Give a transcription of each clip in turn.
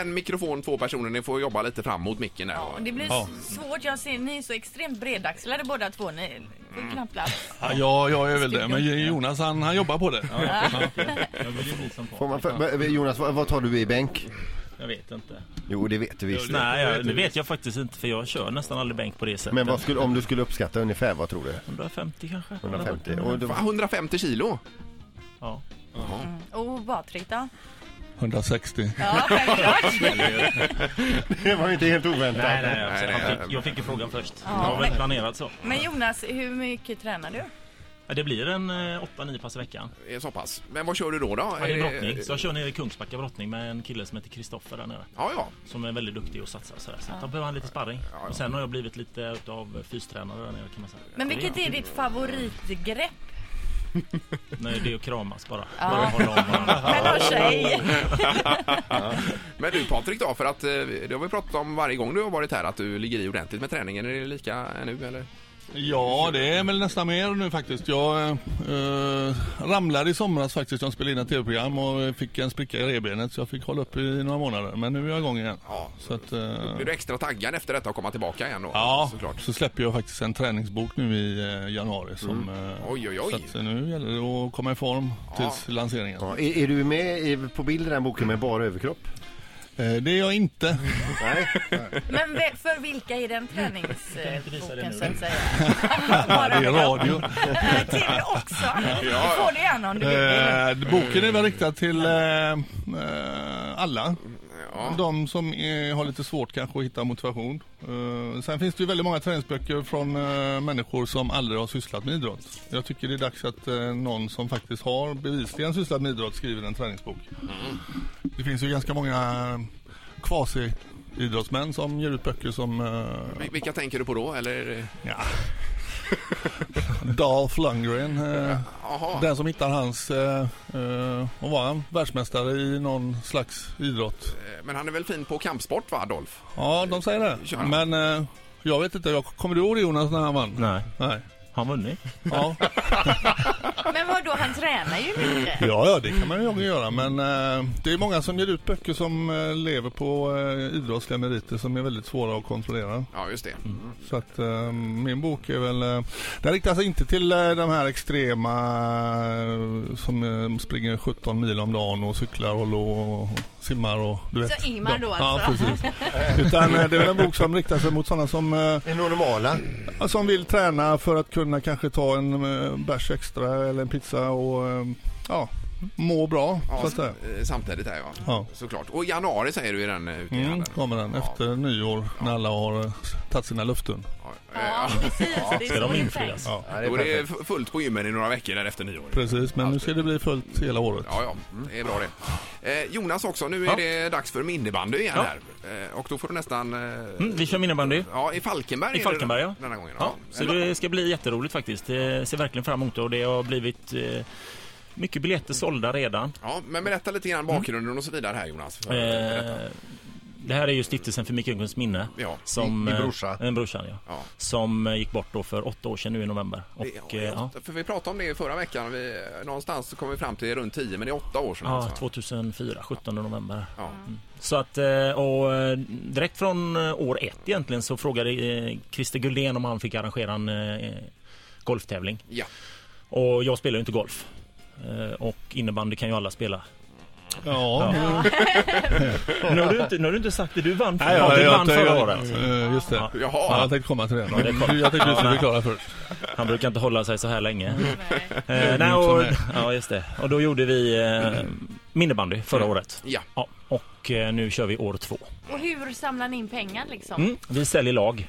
en mikrofon, två personer. Ni får jobba lite fram mot micken där. Ja, det blir Ja. svårt. Jag ser ni är så extremt bredaxlade båda två. Ni får knappt plats. Ja, jag, jag är väl det. Men Jonas han, han jobbar på det. Jag vill ju bli som Får man Patrik. för, vad- Jonas, vad, vad tar du i bänk? Jag vet inte. Jo, det vet du visst. Nej, jag, det vet jag faktiskt inte för jag kör nästan aldrig bänk på det sättet. Men vad skulle, om du skulle uppskatta ungefär, vad tror du? 150 kanske? 150? Och Fan, då, 150 kilo? Ja. Och Patrik då? 160. Ja, självklart. det var ju inte helt oväntat. Nej, nej, jag, Nej, nej. jag, fick, jag fick ju frågan först. Ja, jag har väl men- planerat så. Men Jonas, hur mycket tränar du? Ja, det blir en eh, 8-9 pass i veckan. Det är Så pass. Men vad kör du då? då? Ja, det är Eh, brottning. Så jag kör nere i Kungsbacka brottning med en kille som heter Kristoffer där nere. Ja, ja. Som är väldigt duktig och satsar och sådär. Så att då behöver han lite sparring. Och sen har jag blivit lite utav fystränare där nere kan man säga. Men vilket är ditt favoritgrepp? Nej, det är att kramas bara. Ja. Bara hålla om varandra. Men någon tjej? Men du Patrik då, för att eh, det har vi pratat om varje gång du har varit här att du ligger i ordentligt med träningen. Är det lika nu eller? Ja, det är väl nästan mer nu faktiskt. Jag eh, ramlade i somras faktiskt. Jag spelade in ett tv-program och eh, fick en spricka i revbenet så jag fick hålla upp i några månader. Men nu är jag igång igen. Ja. Så att, eh, Blir du extra taggad efter detta och komma tillbaka igen då? ja, Såklart. så släpper jag faktiskt en träningsbok nu i eh, januari. Som, eh, Mm. Oj, oj, oj. Så att, eh, nu gäller det att komma i form tills lanseringen. Ja, är, är du med i, på bild i den boken med bara överkropp? Eh, det är jag inte. Nej. Men ve- för vilka är den kan inte visa det träningsboken nu. så att säga? det är radio. Till också. Du ja. får det gärna om du vill. Eh, boken är väl riktad till eh, eh, alla. De som eh, har lite svårt kanske att hitta motivation. Eh, sen finns det ju väldigt många träningsböcker från eh, människor som aldrig har sysslat med idrott. Jag tycker det är dags att eh, någon som faktiskt har bevisligen sysslat med idrott skriver en träningsbok. Det finns ju ganska många kvasi idrottsmän som ger ut böcker som eh, Vil- Vilka tänker du på då eller? ja. Dolph Lundgren. Eh, Jaha. den som hittar hans, eh, eh, vad var han? Världsmästare i någon slags idrott. Eh, Men han är väl fin på kampsport va, Adolf? Ja, de säger Kör det. han. Men eh, jag vet inte, jag, kommer du ihåg det Jonas när han vann? Nej, Nej. har han vunnit? Ja. Men vadå, han tränar ju mycket. ja, ja, det kan man ju göra. Men eh, det är många som ger ut böcker som eh, lever på eh, idrottsliga meriter som är väldigt svåra att kontrollera. Ja, just det. Så att eh, min bok är väl... Eh, den riktar sig inte till eh, de här extrema eh, som eh, springer 17 mil om dagen och cyklar och, lå, och simmar och du vet. Så Ingmar då Ja, alltså. precis. Utan eh, det är väl en bok som riktar sig mot sådana som, eh, Det normala. som vill träna för att kunna kanske ta en eh, bärs extra eller en pizza och eh, ja, må bra så Ja, att säga. eh, samtidigt här ja. Ja. Såklart. Och i januari säger du i den eh, utgivningen? Mm, kommer den Ja. efter nyår när alla har eh, tagit sina löften. Ja, eh, Ja, precis. Det är Ska så de det är infrias? tänkt. Ja, det Då är är det perfekt. f- fullt på gymmen i några veckor där efter nyår. Precis, men nu ska det bli fullt hela året. Ja, ja, det är bra det. Eh, Jonas också, nu är Mm. Ja. det dags för minibandy igen Ja. här. Eh, och då får du nästan... Eh, Mm, vi kör innebandy. Ja, i Falkenberg. I är det Falkenberg, den, ja. Denna gången, Ja, ja. så det ska bli jätteroligt faktiskt. Det ser verkligen fram emot det och det har blivit eh, mycket biljetter sålda redan. ja, men berätta lite grann bakgrunden och så vidare här Jonas. För, Eh, berätta. det här är ju stiftelsen för Micke Unckels minne. Ja. Som, Din eh, brorsa. En brorsan ja. Ja. Som eh, gick bort då för åtta år sedan nu i november. Och, Det- eh, ja, För vi pratade om det förra veckan, vi, någonstans så kom vi fram till runt 10, men det är åtta år sedan. ja, Mm. alltså. 2004, 17 november. ja. Så att, eh, och eh, direkt från eh, år ett egentligen så frågade eh, Christer Guldén om han fick arrangera en eh, golftävling. ja. Och jag spelar ju inte golf. Eh, Och innebandy kan ju alla spela. Ja, Nu har du inte, nu har du inte sagt det. Du vann, Nej, ja, du jag, vann jag, förra jag, året. eh, just det. Ja. Jaha. jag tänkte komma till det. det är klart. Du, jag tänkte du skulle förklara först. Han brukar inte hålla sig så här länge. Nej. Eh, nej, som och, är. ja, just det. Och då gjorde vi eh, minibandy förra året. ja. Mm. Ja, och eh, nu kör vi år två. Och hur samlar ni in pengar liksom? Mm, vi säljer lag.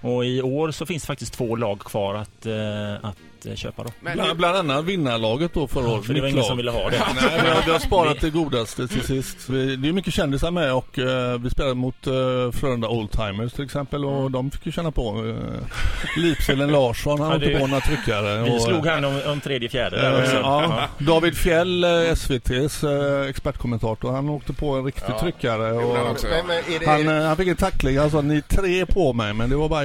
Och i år så finns det faktiskt två lag kvar att, eh, att eh, köpa då. Men Bland, bland annat vinnarlaget då förra året. För det var mitt ingen lag. som ville ha det. Nej, vi har, vi har sparat det godaste till sist. Vi, det är mycket kändisar med och eh, vi spelade mot uh, Frölunda Oldtimers till exempel och de fick ju känna på uh, Lipsilen Larsson, han Mm. Ja, åkte det- på några tryckare. Vi och, slog han om, om tredje fjärde Eh, där också. ja, David Fjell, eh, SVTs eh, expertkommentator, han åkte på en riktig tryckare. gjorde han Och, också, ja. Men, men är det, Han, eh, han fick en tackling, han sa ni är tre på mig men det var bara